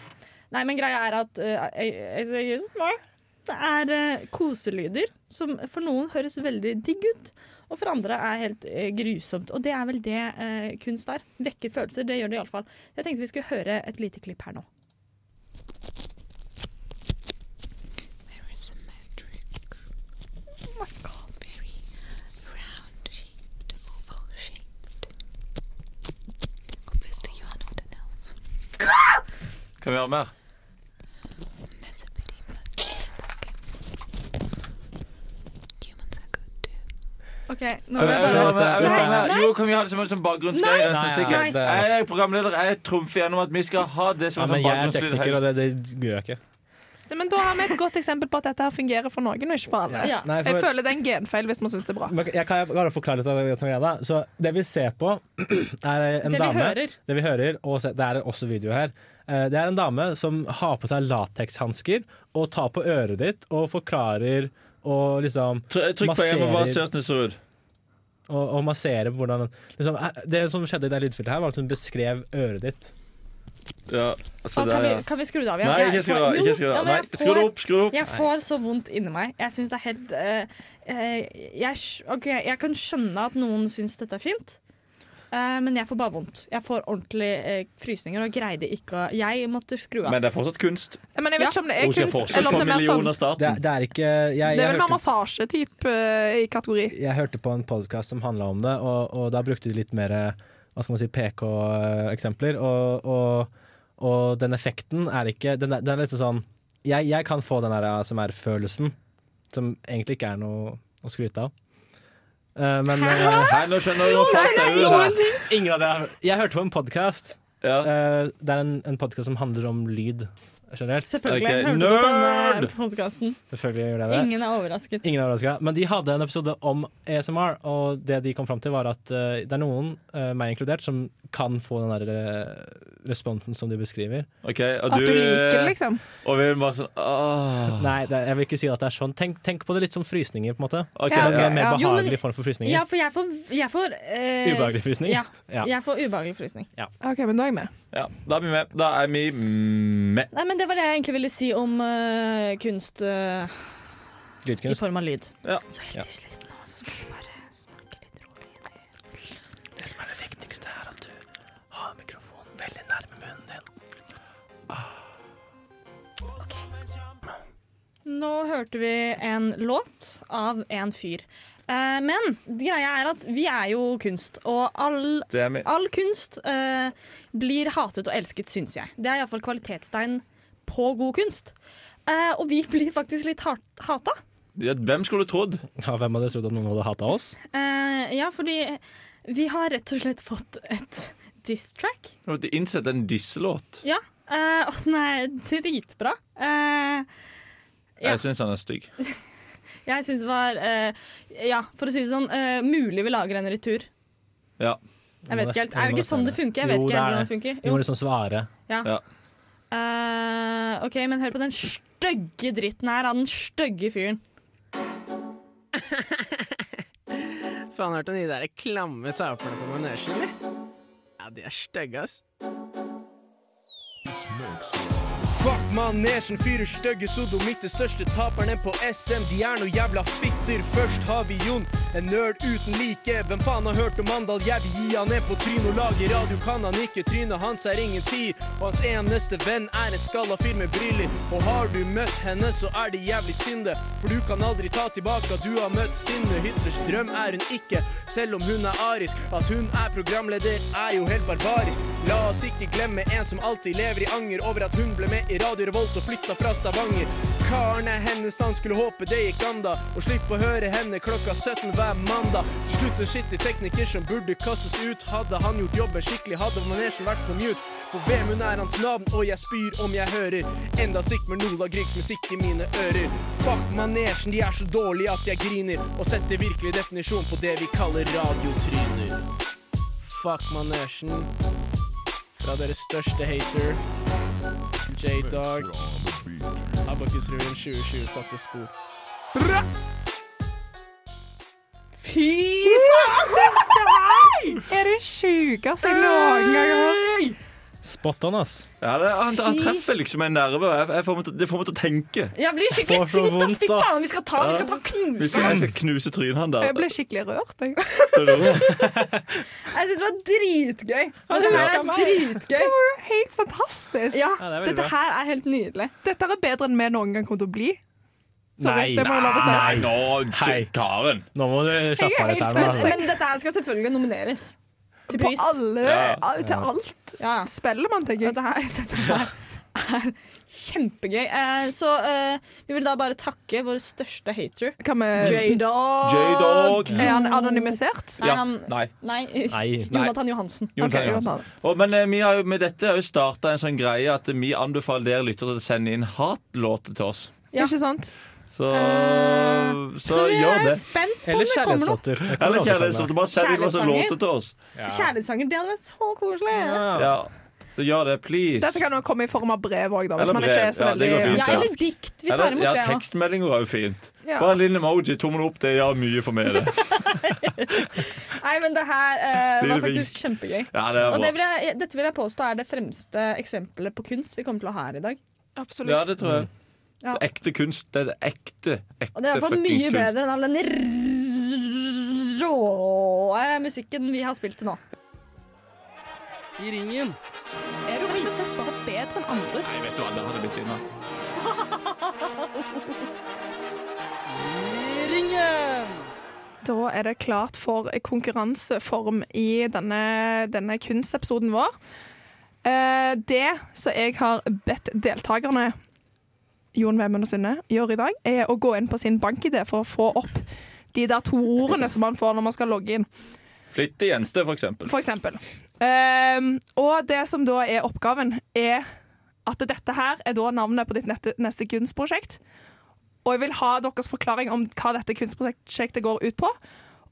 Speaker 5: nei, men greia er at uh, I- I- I- I- det er uh, koselyder som for noen høres veldig digg ut, og for andre er helt uh, grusomt. Og det er vel det uh, kunst er. Vekker følelser, det gjør det iallfall. Jeg tenkte vi skulle høre et lite klipp her nå.
Speaker 2: Kan vi gjøre mer?
Speaker 5: Ok, nå må
Speaker 2: Jeg vil
Speaker 5: jeg bare...
Speaker 2: høre mer, jeg vil høre
Speaker 5: Nei,
Speaker 2: mer.
Speaker 5: nei.
Speaker 2: Jo, kan vi ha det som en sånn bakgrunnsgreie?
Speaker 5: Nei.
Speaker 2: i resten av
Speaker 6: Nei, nei,
Speaker 2: stikket?
Speaker 6: nei.
Speaker 2: Jeg er programleder, jeg trumfer gjennom at vi skal ha det som
Speaker 6: Ja,
Speaker 2: en
Speaker 6: men
Speaker 2: sånn
Speaker 6: jeg er
Speaker 2: bakgrunnslyd.
Speaker 6: tekniker, og
Speaker 2: helst.
Speaker 6: det, det gjør jeg ikke.
Speaker 4: Så, Men da har vi et godt eksempel på at dette her fungerer for noen, og ikke for alle.
Speaker 5: Ja.
Speaker 6: Nei,
Speaker 4: Jeg
Speaker 6: for,
Speaker 4: føler det er en genfeil hvis man syns det er bra.
Speaker 6: men jeg kan bare forklare litt av det som greia da. Så det vi ser på, [clears throat] er en
Speaker 5: Det vi
Speaker 6: dame
Speaker 5: hører.
Speaker 6: Det vi hører, og se- det er også video her. Eh, Det er en dame som har på seg latekshansker og tar på øret ditt og forklarer og liksom
Speaker 2: Try- Trykk på en og bare
Speaker 6: Masserer.
Speaker 2: se hvordan det ser ut.
Speaker 6: Og, og masserer på hvordan liksom, eh, Det som skjedde i det lydfeltet her, var at hun beskrev øret ditt.
Speaker 2: Ja,
Speaker 5: Å,
Speaker 2: altså, se
Speaker 5: kan,
Speaker 2: der,
Speaker 5: vi,
Speaker 2: ja.
Speaker 5: kan vi skru det av igjen?
Speaker 2: Nei, ikke skru det av. ikke skru det av. Nei, Skru det opp, skru det opp.
Speaker 5: Jeg får så vondt inni meg. Jeg syns det er helt eh, eh, jeg, skj- ok, jeg kan skjønne at noen syns dette er fint, eh, men jeg får bare vondt. Jeg får ordentlig eh, frysninger og greide ikke å Jeg måtte skru av.
Speaker 2: Men det er fortsatt kunst.
Speaker 4: Men jeg vet
Speaker 5: Ja.
Speaker 4: ikke om det
Speaker 2: Hun
Speaker 4: er
Speaker 2: skal
Speaker 4: kunst,
Speaker 2: fortsatt
Speaker 4: eller om
Speaker 2: få
Speaker 4: det er mer sånn
Speaker 2: millioner av
Speaker 6: Det, er-
Speaker 2: staten.
Speaker 6: det er ikke Jeg,
Speaker 4: Det
Speaker 6: jeg,
Speaker 4: er vel mer
Speaker 6: hørte,
Speaker 4: massasjetype eh, i kategori.
Speaker 6: jeg hørte på en podkast som handla om det, og, og da brukte de litt mer eh, hva skal man si, PK-eksempler. Og, og, og den effekten er ikke Den er, den er liksom sånn jeg, jeg kan få den der eh, ASMR-følelsen, som egentlig ikke er noe å skryte av. Eh, men eh,
Speaker 2: Nei, nå skjønner du hva det er. ut her.
Speaker 6: Ingen av dere Jeg hørte på en podkast.
Speaker 2: Ja.
Speaker 6: det er en, en podkast som handler om lyd generelt.
Speaker 5: Selvfølgelig.
Speaker 2: Ok,
Speaker 5: Hørte du på denne
Speaker 2: nerd!
Speaker 5: podcasten?
Speaker 6: Selvfølgelig gjør det det.
Speaker 5: Ingen er overrasket.
Speaker 6: Ingen er overrasket. Men de hadde en episode om ASMR, og det de kom fram til, var at eh, det er noen, eh, meg inkludert, som kan få den der eh, responsen som de beskriver.
Speaker 2: Ok, og
Speaker 4: At
Speaker 2: du, eh,
Speaker 4: du
Speaker 6: Eh,
Speaker 4: liker det, liksom.
Speaker 2: Og vi er bare sånn åh.
Speaker 6: Nei, det, jeg vil ikke si at det er sånn. Tenk, tenk på det litt som frysninger, på en måte.
Speaker 2: Ok,
Speaker 6: Det
Speaker 4: Ja,
Speaker 6: er
Speaker 4: ok,
Speaker 2: ja.
Speaker 6: en mer
Speaker 4: ja.
Speaker 5: Jo, men-
Speaker 6: behagelig form for frysninger.
Speaker 5: Ja, for jeg får, jeg får eh,
Speaker 6: Ubehagelig frysning?
Speaker 5: Ja,
Speaker 6: Ja.
Speaker 5: jeg får ubehagelig frysning.
Speaker 4: OK, men da er jeg med.
Speaker 2: ja. Da er vi med. Da er vi med.
Speaker 5: Nei, men Det var det jeg egentlig ville si om eh, kunst eh, i
Speaker 6: Lydkunst.
Speaker 5: form av lyd.
Speaker 2: Ja.
Speaker 5: Så helt
Speaker 6: Ja.
Speaker 5: til slutt nå, så skal vi bare snakke litt rolig.
Speaker 6: Det som er det viktigste, er at du har mikrofonen veldig nærme munnen din.
Speaker 5: Nå hørte vi en låt av en fyr. Eh, men greia er at vi er jo kunst, og all,
Speaker 2: Det er vi.
Speaker 5: all kunst eh, blir hatet og elsket, syns jeg. Det er iallfall kvalitetstegn på god kunst. Eh, og vi blir faktisk litt hat hata.
Speaker 2: Ja, hvem skulle trodd?
Speaker 6: Ja, hvem hadde trodd at noen hadde hata oss?
Speaker 5: Eh, ja, fordi vi har rett og slett fått et diss-track.
Speaker 2: Jeg måtte innsette en disselåt.
Speaker 5: Ja. eh, og den er dritbra. Eh, Ja.
Speaker 2: Jeg syns han er stygg.
Speaker 5: jeg syns det var eh, Ja, for å si det sånn, eh, mulig vi lager en retur.
Speaker 2: Ja.
Speaker 5: Jeg vet ikke helt. Er det ikke sånn det funker? Jeg vet
Speaker 6: Jo,
Speaker 5: ikke
Speaker 6: det
Speaker 5: helt
Speaker 6: er
Speaker 5: hvordan det funker.
Speaker 6: Vi
Speaker 5: Jo.
Speaker 6: må liksom svare.
Speaker 2: Ja.
Speaker 5: Eh, OK, men hør på den stygge dritten her av den stygge fyren.
Speaker 6: Faen, hørte du de der klamme taperne på manesjen, eller? Ja, de er stygge, ass. Fuck manesjen, fire stygge sodomitter, største taperne på SM. De er noe jævla fitter. Først har vi Jon, en nerd uten like. Hvem faen har hørt om Mandal? Jeg vil gi han ned på trynet og lage radio. Kan han ikke trynet hans er ingen tid. Og hans eneste venn er en skalla fyr med briller. Og har du møtt henne, så er det jævlig synde. For du kan aldri ta tilbake at du har møtt sinne. Hitlers drøm er hun ikke, selv om hun er arisk. At hun er programleder er jo helt barbarisk. La oss ikke glemme en som alltid lever i anger over at hun ble med i Radio Revolt og flytta fra Stavanger. Karene hennes, han skulle håpe det gikk an, da. Og slipp å høre henne klokka 17 hver mandag. Til slutt en skittig tekniker som burde kastes ut. Hadde han gjort jobben skikkelig, hadde manesjen vært på mute. For Vemund er hans navn, og jeg spyr om jeg hører enda sikmer Nola Griegs musikk i mine ører. Fuck manesjen, de er så dårlige at jeg griner. Og setter virkelig definisjon på det vi kaller radiotryner. Fuck manesjen fra deres største hater, J-Dog. Abakusrevyen 2020 satte spor.
Speaker 5: Fy
Speaker 10: Er det sjukeste jeg noen gang har hørt?
Speaker 11: Spot on, ass.
Speaker 2: Ja, det, han, han treffer liksom en nerve. Jeg, jeg får meg til, det får meg til å tenke.
Speaker 5: Jeg blir skikkelig
Speaker 11: Får så
Speaker 5: sint, ass!
Speaker 11: vondt,
Speaker 5: Fy faen,
Speaker 11: ass.
Speaker 5: vi skal ta, vi skal ta
Speaker 2: Vi skal, jeg
Speaker 5: knuse!
Speaker 2: skal knuse trynet han der.
Speaker 4: Jeg ble skikkelig rørt. Jeg.
Speaker 5: Jeg syns det var dritgøy. Men det
Speaker 4: det
Speaker 5: her
Speaker 4: husker
Speaker 5: er dritgøy.
Speaker 4: Det var jo helt fantastisk.
Speaker 5: Ja,
Speaker 11: Ja, det er veldig
Speaker 5: dette
Speaker 11: bra.
Speaker 5: her er helt nydelig.
Speaker 4: Dette er bedre enn vi noen gang kommer til å bli. Sorry,
Speaker 11: Nei,
Speaker 4: det må jeg lov å si.
Speaker 2: Nei, nå,
Speaker 11: Hei.
Speaker 2: Karen.
Speaker 11: Nå må du slappe av litt her.
Speaker 5: Men,
Speaker 11: nå.
Speaker 5: men dette her skal selvfølgelig nomineres til
Speaker 4: På
Speaker 5: pris.
Speaker 4: alle,
Speaker 2: Ja.
Speaker 4: al- til alt.
Speaker 5: Ja.
Speaker 4: Spiller man, tenker jeg.
Speaker 5: Dette her, dette her er kjempegøy. Eh, så eh, vi vil da bare takke vår største hater,
Speaker 4: Kan vi
Speaker 5: J-Dog.
Speaker 2: J-Dog.
Speaker 4: Er han anonymisert?
Speaker 5: Nei,
Speaker 2: Ja,
Speaker 5: han,
Speaker 2: nei.
Speaker 5: nei, [laughs]
Speaker 11: Nei.
Speaker 5: Jonathan Johansen.
Speaker 2: Jon
Speaker 4: Ok,
Speaker 2: Terje Hansen.
Speaker 4: Johan.
Speaker 2: Og, men eh, vi har jo, med dette har jo starta en sånn greie at vi anbefaler dere lyttere til å sende inn hatlåter til oss.
Speaker 5: Ja.
Speaker 4: Ikke sant?
Speaker 2: Så,
Speaker 5: Eh,
Speaker 2: så,
Speaker 5: så vi
Speaker 2: gjør
Speaker 5: er
Speaker 2: det.
Speaker 5: spent på om
Speaker 11: Eller
Speaker 5: det kommer noe.
Speaker 11: kjærlighetslåter. Det kan
Speaker 2: Eller
Speaker 11: du også
Speaker 2: kjærlighetslåter. Bare send inn masse
Speaker 5: Kjærlighetssanger.
Speaker 2: låter til oss.
Speaker 5: Kjærlighetssanger, det hadde vært så koselig.
Speaker 11: sende. Ja.
Speaker 2: Ja. Så gjør det, please.
Speaker 4: Dette kan jo komme i form av brev òg, hvis
Speaker 2: Eller
Speaker 4: man ikke
Speaker 2: brev.
Speaker 4: er så
Speaker 2: Ja, det
Speaker 4: veldig
Speaker 2: går fint.
Speaker 5: Ja, eller dikt. Vi tar
Speaker 2: Eller,
Speaker 5: imot
Speaker 2: ja,
Speaker 5: det òg.
Speaker 2: tekstmeldinger er jo fint.
Speaker 4: Ja.
Speaker 2: Bare en liten emoji, tommel opp, det gjør mye for meg.
Speaker 5: [laughs]
Speaker 2: Det.
Speaker 5: Nei, men det her eh,
Speaker 2: Det
Speaker 5: var
Speaker 2: er det
Speaker 5: faktisk kjempegøy.
Speaker 2: Ja, det
Speaker 5: Og det
Speaker 2: er bra.
Speaker 5: vil jeg, dette vil jeg påstå er det fremste eksempelet på kunst vi kommer til å ha her i dag.
Speaker 2: Ja,
Speaker 4: Absolutt.
Speaker 2: det tror jeg.
Speaker 5: Mm. Ja.
Speaker 2: Det er ekte kunst. Det er det ekte,
Speaker 5: Og det er i hvert
Speaker 2: ekte
Speaker 5: fall
Speaker 2: fuckings
Speaker 5: mye
Speaker 2: kunst.
Speaker 5: bedre enn all den r- rå eh, musikken vi har spilt til nå.
Speaker 6: I ringen.
Speaker 4: Er du rett og slett bare bedre enn andre?
Speaker 2: Nei, vet du hva, der hadde jeg blitt sinna.
Speaker 6: I ringen!
Speaker 4: Da er det klart for konkurranseform i denne, denne kunstepisoden vår. Eh, Det som jeg har bedt deltakerne, Jon Vemund og Synne, gjør i dag, er å gå inn på sin bankidé for å få opp de der to ordene som man får når man skal logge inn,
Speaker 2: Flittig jente, for eksempel.
Speaker 4: for eksempel. Eh, Og det som da er oppgaven, er at dette her er da navnet på ditt nette- neste kunstprosjekt. Og jeg vil ha deres forklaring om hva dette kunstprosjektet går ut på.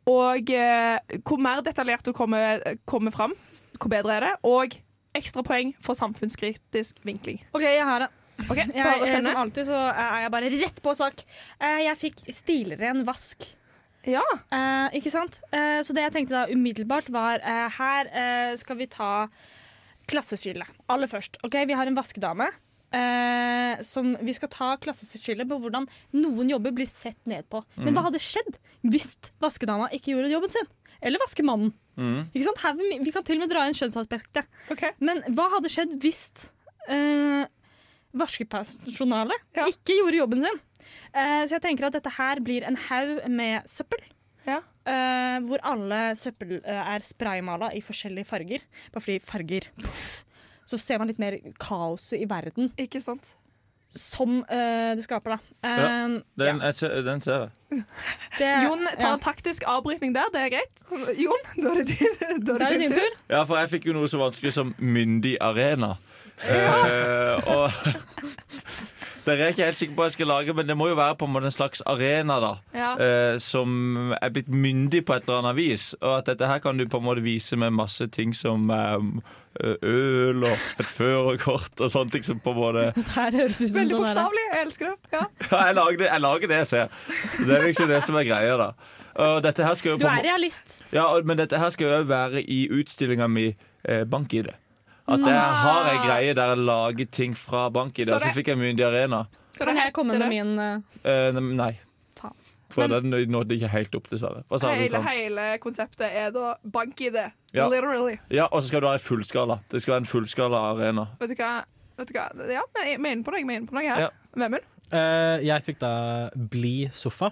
Speaker 4: Og eh, hvor mer detaljert du kommer, kommer fram, hvor bedre er det. Og ekstrapoeng for samfunnskritisk vinkling.
Speaker 5: OK, jeg har en.
Speaker 4: Ok,
Speaker 5: Jeg,
Speaker 4: bare
Speaker 5: jeg, som
Speaker 4: sende.
Speaker 5: alltid så er jeg bare rett på sak. Eh, Jeg fikk stilren vask.
Speaker 4: Ja,
Speaker 5: Eh, ikke sant? Eh, så det jeg tenkte da umiddelbart var eh, Her eh, skal vi ta klasseskillet aller først. Ok, Vi har en vaskedame eh, som vi skal ta klasseskillet på hvordan noen jobber blir sett ned på. Men hva hadde skjedd hvis vaskedama ikke gjorde jobben sin? Eller vaskemannen. Ikke sant? Her, vi, vi kan til og med dra inn kjønnsaspektet.
Speaker 4: ok.
Speaker 5: Men hva hadde skjedd hvis eh, vaskepersonalet
Speaker 4: Ja.
Speaker 5: ikke gjorde jobben sin? Eh, så jeg tenker at dette her blir en haug med søppel.
Speaker 4: Ja.
Speaker 5: eh, hvor alle søppel eh, er spraymala i forskjellige farger. Bare fordi farger Så ser man litt mer kaoset i verden
Speaker 4: Ikke sant.
Speaker 5: som eh, det skaper, da.
Speaker 2: Ja,
Speaker 5: Eh,
Speaker 2: Den, jeg ser, den ser jeg.
Speaker 5: det-
Speaker 4: Jon tar
Speaker 5: ja.
Speaker 4: en taktisk avbrytning der, det er greit. Eh, Jon, da er det din, da
Speaker 5: Da er det din tur.
Speaker 2: Ja, for jeg fikk jo noe så vanskelig som myndig arena. Eh, og [laughs] Det er jeg ikke helt sikker på hva jeg skal lage, men det må jo være på en måte en slags arena da
Speaker 4: Ja.
Speaker 2: eh, som er blitt myndig på et eller annet vis. Og at dette her kan du på en måte vise med masse ting som eh, øl og et førerkort og sånne ting som på en måte
Speaker 5: [laughs] Det her høres ut som
Speaker 4: Veldig
Speaker 5: sånn her-
Speaker 4: bokstavelig. Jeg elsker det. Ja.
Speaker 2: Ja, jeg lager det jeg, lager det jeg ser. Det er liksom det som er greia, da. Og dette her skal jo
Speaker 5: Du
Speaker 2: på en
Speaker 5: er
Speaker 2: må-
Speaker 5: realist.
Speaker 2: ja, og- men dette her skal jo også være i utstillinga mi eh, Bank-ID. At jeg har ei greie der jeg lager ting fra Bank-ID,
Speaker 4: Så
Speaker 2: og så
Speaker 4: det-
Speaker 2: fikk jeg Myndig Arena.
Speaker 4: Så
Speaker 5: Kan
Speaker 4: det
Speaker 5: jeg komme
Speaker 4: heter
Speaker 5: med
Speaker 4: det?
Speaker 5: min eh,
Speaker 2: Eh, nei.
Speaker 5: Faen.
Speaker 2: For den nådde ikke helt opp, dessverre. Hva sa Sånn du?
Speaker 4: Hele,
Speaker 2: Tom?
Speaker 4: hele konseptet er da bank i det.
Speaker 2: Ja.
Speaker 4: Literally.
Speaker 2: Ja, og så skal du ha en fullskala. Det skal være en fullskala arena.
Speaker 4: Vet du hva? Vet du hva? Ja, vi er inne på noe, vi er inne på noe her.
Speaker 2: Ja.
Speaker 4: Vemund?
Speaker 6: Eh, jeg fikk da Bli sofa.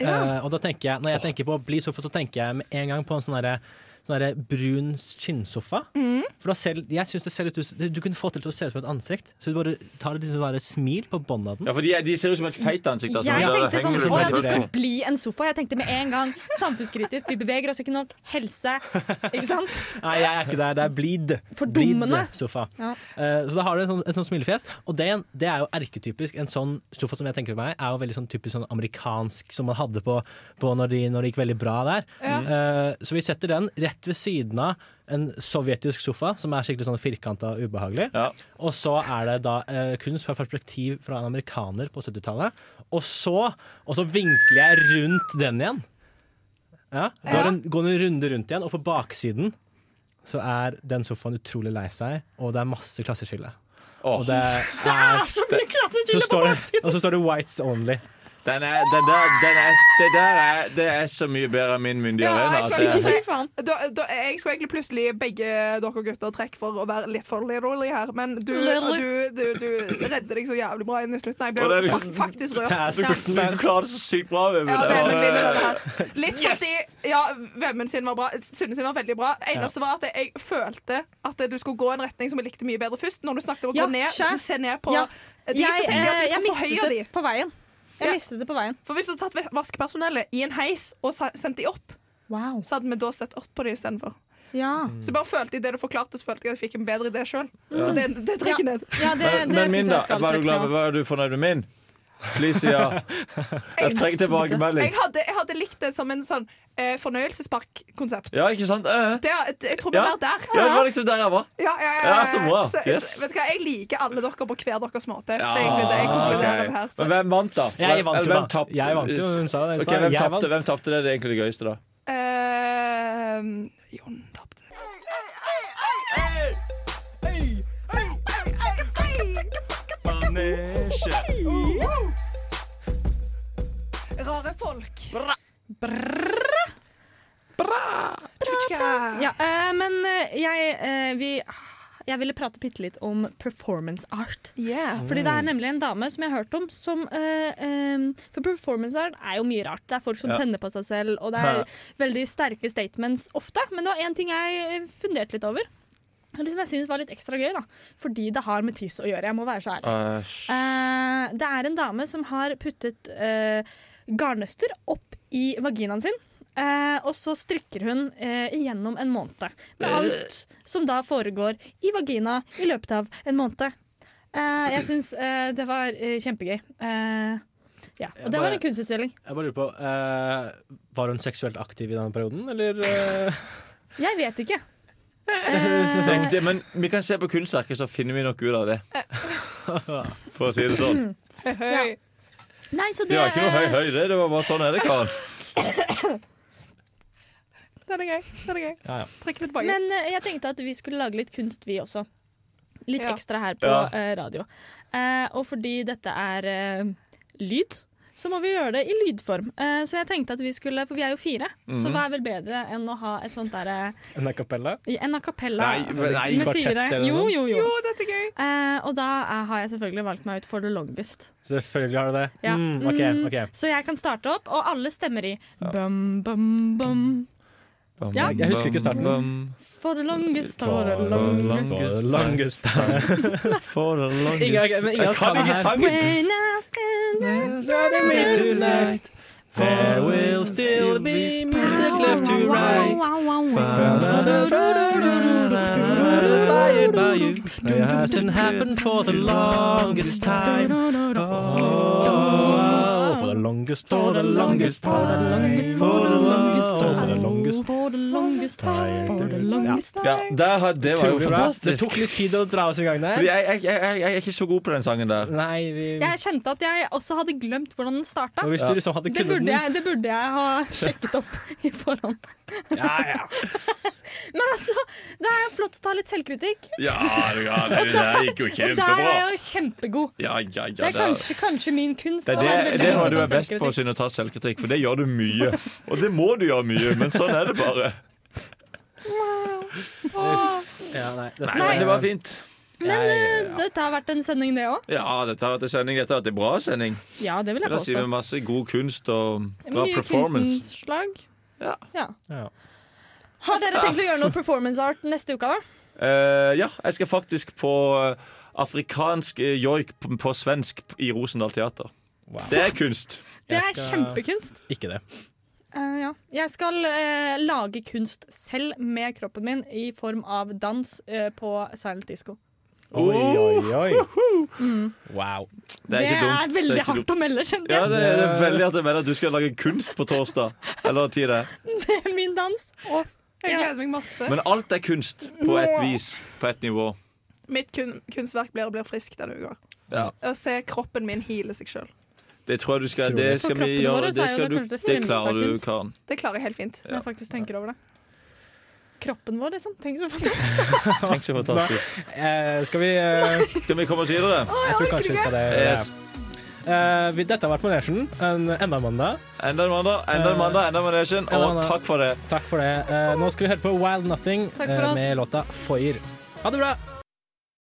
Speaker 6: Eh, og da tenker jeg, når jeg tenker på Bli sofa, så tenker jeg med en gang på en sånn derre Sånn derre brun skinnsofa. For da ser, jeg synes det ser litt ut Du kunne få til til å se ut som et ansikt. Så du bare tar et litt sånn derre smil på båndet av den.
Speaker 2: Ja, for de, er- de ser ut som et feit ansikt. altså.
Speaker 5: Jeg
Speaker 2: Der
Speaker 5: tenkte sånn
Speaker 2: henger du
Speaker 5: Å ja,
Speaker 2: på
Speaker 5: du
Speaker 2: et
Speaker 5: skal
Speaker 2: bord.
Speaker 5: bli en sofa. Jeg tenkte med en gang samfunnskritisk. Vi beveger oss ikke nok. Helse. Ikke sant?
Speaker 6: Nei, jeg er ikke der. Det er blid.
Speaker 5: Fordummende.
Speaker 6: Blid sofa.
Speaker 5: Ja.
Speaker 6: Eh, så da har du en sånn, et sånn smilefjes. Og det, det er jo erketypisk. En sånn sofa som jeg tenker på meg, er jo veldig sånn typisk sånn amerikansk som man hadde på, på når, de, når det gikk veldig bra der. Eh, så vi setter den rett ved siden av en sovjetisk sofa, som er skikkelig sånn firkanta og ubehagelig.
Speaker 2: Ja.
Speaker 6: Og så er det da eh, kunst fra perspektiv fra en amerikaner på 70-tallet. Og så, og så vinkler jeg rundt den igjen. Ja, går, en, går en runde rundt igjen, og på baksiden så er den sofaen utrolig lei seg, og det er masse klasseskille.
Speaker 2: Åh,
Speaker 6: Og [laughs] det er så mye klasseskille på baksiden! Og så står det 'whites only'.
Speaker 2: den er, den der, den er, det der er, det er så mye bedre enn min Myndig arena.
Speaker 4: jeg
Speaker 2: At
Speaker 4: føler
Speaker 2: det,
Speaker 4: ikke
Speaker 2: er-
Speaker 4: så-
Speaker 5: Altså,
Speaker 4: Da, da, jeg skulle egentlig plutselig begge dere gutter trekke for å være litt for literally her, men du,
Speaker 5: Literally.
Speaker 4: du, du, du redder deg så jævlig bra inn i slutten.
Speaker 2: Og
Speaker 4: Jeg
Speaker 2: det
Speaker 4: ble
Speaker 2: er
Speaker 4: fa-
Speaker 2: liksom-
Speaker 4: faktisk rørt.
Speaker 6: Det er så
Speaker 2: du, du klarer det så sykt bra. Vemund.
Speaker 4: Ja,
Speaker 2: Det
Speaker 4: det er
Speaker 2: var-
Speaker 4: veldig fint, det her. Litt fordi ja, Vemmen sin var bra. Sunne sin var veldig bra. Eneste var at jeg følte at du skulle gå i en retning som jeg likte mye bedre først. Når du snakket om å
Speaker 5: Ja,
Speaker 4: gå ned,
Speaker 5: skjø.
Speaker 4: se ned på
Speaker 5: Ja.
Speaker 4: de, så
Speaker 5: Jeg,
Speaker 4: tenkte jeg
Speaker 5: eh,
Speaker 4: at
Speaker 5: jeg
Speaker 4: du skal
Speaker 5: mistet
Speaker 4: forhøye de.
Speaker 5: det på veien.
Speaker 4: Ja.
Speaker 5: Jeg mistet det på veien.
Speaker 4: For hvis du hadde tatt vaskepersonellet i en heis og sa- sendt de opp,
Speaker 5: Wow.
Speaker 4: så hadde vi da sett opp på de istedenfor.
Speaker 5: Ja.
Speaker 2: Mm.
Speaker 4: Så jeg bare følte i det du forklarte, så følte jeg at jeg fikk en bedre idé sjøl. Så det, det trekker
Speaker 5: Ja.
Speaker 4: ned.
Speaker 5: Ja, det,
Speaker 2: Men,
Speaker 5: det
Speaker 2: men
Speaker 5: syns
Speaker 2: min, da?
Speaker 5: jeg skal
Speaker 2: Var du, glad,
Speaker 5: trekke ned.
Speaker 2: var du fornøyd med min?
Speaker 4: [laughs]
Speaker 2: Felicia, jeg trenger tilbakemelding.
Speaker 4: Jeg hadde, jeg hadde likt det som en sånn eh, fornøyelsesparkkonsept.
Speaker 2: Ja, ikke sant? Eh,
Speaker 4: Det, jeg tror vi
Speaker 2: Ja.
Speaker 4: var der.
Speaker 2: ja, det var liksom der jeg var.
Speaker 4: Ja, ja, ja,
Speaker 2: Ja, så bra.
Speaker 4: Så,
Speaker 2: Yes.
Speaker 4: vet du hva, jeg liker alle dere på hver deres måte. Det er egentlig det jeg konkluderer med her.
Speaker 2: Ah, ok. Men
Speaker 4: Så,
Speaker 2: hvem vant, da?
Speaker 6: Jeg vant jo,
Speaker 2: Eller hvem
Speaker 6: da.
Speaker 2: tapte?
Speaker 6: Jeg vant jo, hun sa det. i
Speaker 2: Ok,
Speaker 6: stad.
Speaker 2: hvem
Speaker 6: Jeg
Speaker 2: tapte?
Speaker 6: vant.
Speaker 2: Hvem tapte? Det er det egentlig det gøyeste, da.
Speaker 4: eh, Jon tapte. Rare folk. Tjuka.
Speaker 5: Ja, eh, men eh, jeg, eh, vi, jeg ville prate bitte litt om performance art.
Speaker 4: Yeah.
Speaker 5: Fordi det er
Speaker 2: Mm.
Speaker 5: nemlig en dame som jeg har hørt om som eh, eh, For performance art er jo mye rart. Det er folk som
Speaker 2: Ja.
Speaker 5: tenner på seg selv, og det er veldig sterke statements ofte. Men det var én ting jeg eh, funderte litt over. Eller som jeg synes var litt ekstra gøy, da. Fordi det har med tiss å gjøre. Jeg må være så ærlig. Eh, det er en dame som har puttet eh, garnnøster opp i vaginaen sin. eh, og så strikker hun eh, igjennom en måned. Med
Speaker 2: Eh.
Speaker 5: alt som da foregår i vagina i løpet av en måned. Eh, jeg syns eh, det var eh, kjempegøy. Eh, ja. Og det var en kunstutstilling.
Speaker 6: Jeg bare lurer på eh, Var hun seksuelt aktiv i den perioden, eller eh? [laughs]
Speaker 5: Jeg vet
Speaker 2: [laughs]
Speaker 5: ikke. Eh,
Speaker 2: Tenk det, men vi kan se på kunstverket, så finner vi nok ut av det.
Speaker 4: Eh.
Speaker 6: [laughs]
Speaker 2: For å si det sånn.
Speaker 4: Høy.
Speaker 5: Nei, så
Speaker 2: Det
Speaker 5: det,
Speaker 2: var ikke noe høy høy, det. Det var bare sånn er det, Karen.
Speaker 4: Den er gøy. Den er gøy.
Speaker 6: Ja, ja.
Speaker 4: Trekk litt tilbake.
Speaker 5: Men eh, jeg tenkte at vi skulle lage litt kunst, vi også. Litt
Speaker 4: Ja.
Speaker 5: ekstra her på
Speaker 2: Ja.
Speaker 5: eh, radio. Eh, og fordi dette er eh, lyd, så må vi gjøre det i lydform. Eh, så jeg tenkte at vi skulle For vi er jo fire, så hva er vel bedre enn å ha et sånt derre
Speaker 6: En a cappella?
Speaker 5: En a cappella
Speaker 2: Nei, nei.
Speaker 5: med fire
Speaker 6: kvartett eller
Speaker 5: Jo,
Speaker 6: noe?
Speaker 5: jo, jo.
Speaker 4: Jo, dette er gøy.
Speaker 5: Eh, og da eh, har jeg selvfølgelig valgt meg ut for the longest.
Speaker 6: Selvfølgelig har du det.
Speaker 5: Ja.
Speaker 6: Mm, ok,
Speaker 5: Mm,
Speaker 6: ok.
Speaker 5: Så jeg kan starte opp, og alle stemmer i. Bum, bum, bum. Ja.
Speaker 6: Jeg husker ikke starten.
Speaker 2: Bum,
Speaker 5: For the longest, for
Speaker 6: For
Speaker 5: the
Speaker 6: the
Speaker 5: longest.
Speaker 6: For the longest time.
Speaker 2: For the
Speaker 6: Ingen-
Speaker 2: longest
Speaker 6: men ingen av oss kan det her.
Speaker 5: When I've been
Speaker 6: There will still be music left to right. Inspired by you. It hasn't happened for the longest time. Oh, for the longest, for the longest time. For the longest, for the longest, for the longest,
Speaker 5: longest time. For the longest time.
Speaker 2: Ja, der, har- det var jo
Speaker 6: Utrolig bra. Det
Speaker 2: fantastisk.
Speaker 6: tok litt tid å dra oss i gang der.
Speaker 2: Fordi jeg, jeg, jeg, jeg, jeg er ikke så god på den sangen der.
Speaker 6: Nei, vi...
Speaker 5: Jeg kjente at jeg også hadde glemt hvordan den starta.
Speaker 6: Og hvis du liksom hadde
Speaker 5: Det
Speaker 6: kunnet
Speaker 5: burde,
Speaker 6: den
Speaker 5: jeg, det burde jeg ha sjekket opp [laughs] i forhånd.
Speaker 6: ja, ja.
Speaker 5: Men altså, det er jo flott å ta litt selvkritikk.
Speaker 2: Ja, det, ja, det, det der gikk jo
Speaker 5: Og der er
Speaker 2: kjempebra.
Speaker 5: jeg jo kjempegod.
Speaker 2: Ja, ja, ja,
Speaker 5: Det er
Speaker 2: det er-
Speaker 5: kanskje, kanskje min kunst.
Speaker 2: Det
Speaker 5: å være
Speaker 2: er det,
Speaker 5: veldig
Speaker 2: det
Speaker 5: god
Speaker 2: var du
Speaker 5: å
Speaker 2: er
Speaker 5: ta
Speaker 2: best på,
Speaker 5: selvkritikk.
Speaker 2: Synne, å ta selvkritikk. For det gjør du mye. Og det må du gjøre mye, men sånn er det bare.
Speaker 6: ja nei, dette
Speaker 2: Nei, men det var fint.
Speaker 5: Men
Speaker 6: Jeg-
Speaker 5: eh, dette har vært en sending, det òg.
Speaker 2: Ja, dette har vært en sending. Dette har vært en bra sending.
Speaker 5: Ja, det vil jeg
Speaker 2: La oss si med
Speaker 5: påstå.
Speaker 2: masse god kunst og bra
Speaker 5: Mye
Speaker 2: performance.
Speaker 5: kunstnslag.
Speaker 2: Ja.
Speaker 6: Ja.
Speaker 5: Har dere tenkt å gjøre noe performance art neste uke, da?
Speaker 2: Eh, ja, jeg skal faktisk på eh, afrikansk eh, joik på, på svensk p- i Rosendal Teater.
Speaker 6: Wow.
Speaker 2: Det er kunst.
Speaker 5: Det
Speaker 6: Jeg
Speaker 5: er
Speaker 6: skal-
Speaker 5: kjempekunst.
Speaker 6: Ikke det.
Speaker 5: Eh, ja. Jeg skal eh, lage kunst selv med kroppen min i form av dans eh, på silent disco.
Speaker 6: Oi, oi, oi. Wow.
Speaker 2: Det er ikke
Speaker 5: veldig
Speaker 2: dumt. det er ikke
Speaker 5: hardt
Speaker 2: dumt.
Speaker 5: å melde, kjente
Speaker 2: Ja,
Speaker 5: jeg.
Speaker 2: det er veldig at jeg mener at du skal lage kunst på torsdag. Eller hva tid det er.
Speaker 5: [laughs] Min dans.
Speaker 4: Jeg gleder meg masse.
Speaker 2: Men alt er kunst på et vis. På et nivå.
Speaker 4: Mitt kun kunstverk blir, blir frisk denne uka.
Speaker 2: Ja.
Speaker 4: Å se kroppen min heale seg sjøl.
Speaker 2: Det tror jeg du skal,
Speaker 6: Tror
Speaker 2: det
Speaker 6: jeg.
Speaker 2: skal
Speaker 5: For
Speaker 2: vi
Speaker 5: kroppen vår
Speaker 2: gjøre.
Speaker 5: er
Speaker 2: Det,
Speaker 5: jo
Speaker 2: skal
Speaker 5: det
Speaker 2: du,
Speaker 5: kanskje
Speaker 2: det
Speaker 5: fremste
Speaker 2: klarer du,
Speaker 5: kunst.
Speaker 2: Karen.
Speaker 4: Det klarer jeg helt fint.
Speaker 5: Når jeg faktisk tenker over det. Kroppen vår, liksom. Tenk så
Speaker 2: Tenk så fantastisk.
Speaker 6: Eh, skal vi eh,
Speaker 2: Skal vi komme oss videre?
Speaker 6: Jeg tror kanskje vi skal det. Ja.
Speaker 2: Yes.
Speaker 6: Eh, vi, dette har vært Manesjen. En, enda en mandag.
Speaker 2: Enda en mandag, enda en mandag, enda en manesjen.
Speaker 6: Eh, Enda en
Speaker 2: Og
Speaker 6: mandag.
Speaker 2: takk for det.
Speaker 6: Takk for det. Eh, nå skal vi høre på Wild Nothing
Speaker 4: Takk for
Speaker 6: eh,
Speaker 4: oss.
Speaker 6: med låta Foyer. Ha det bra!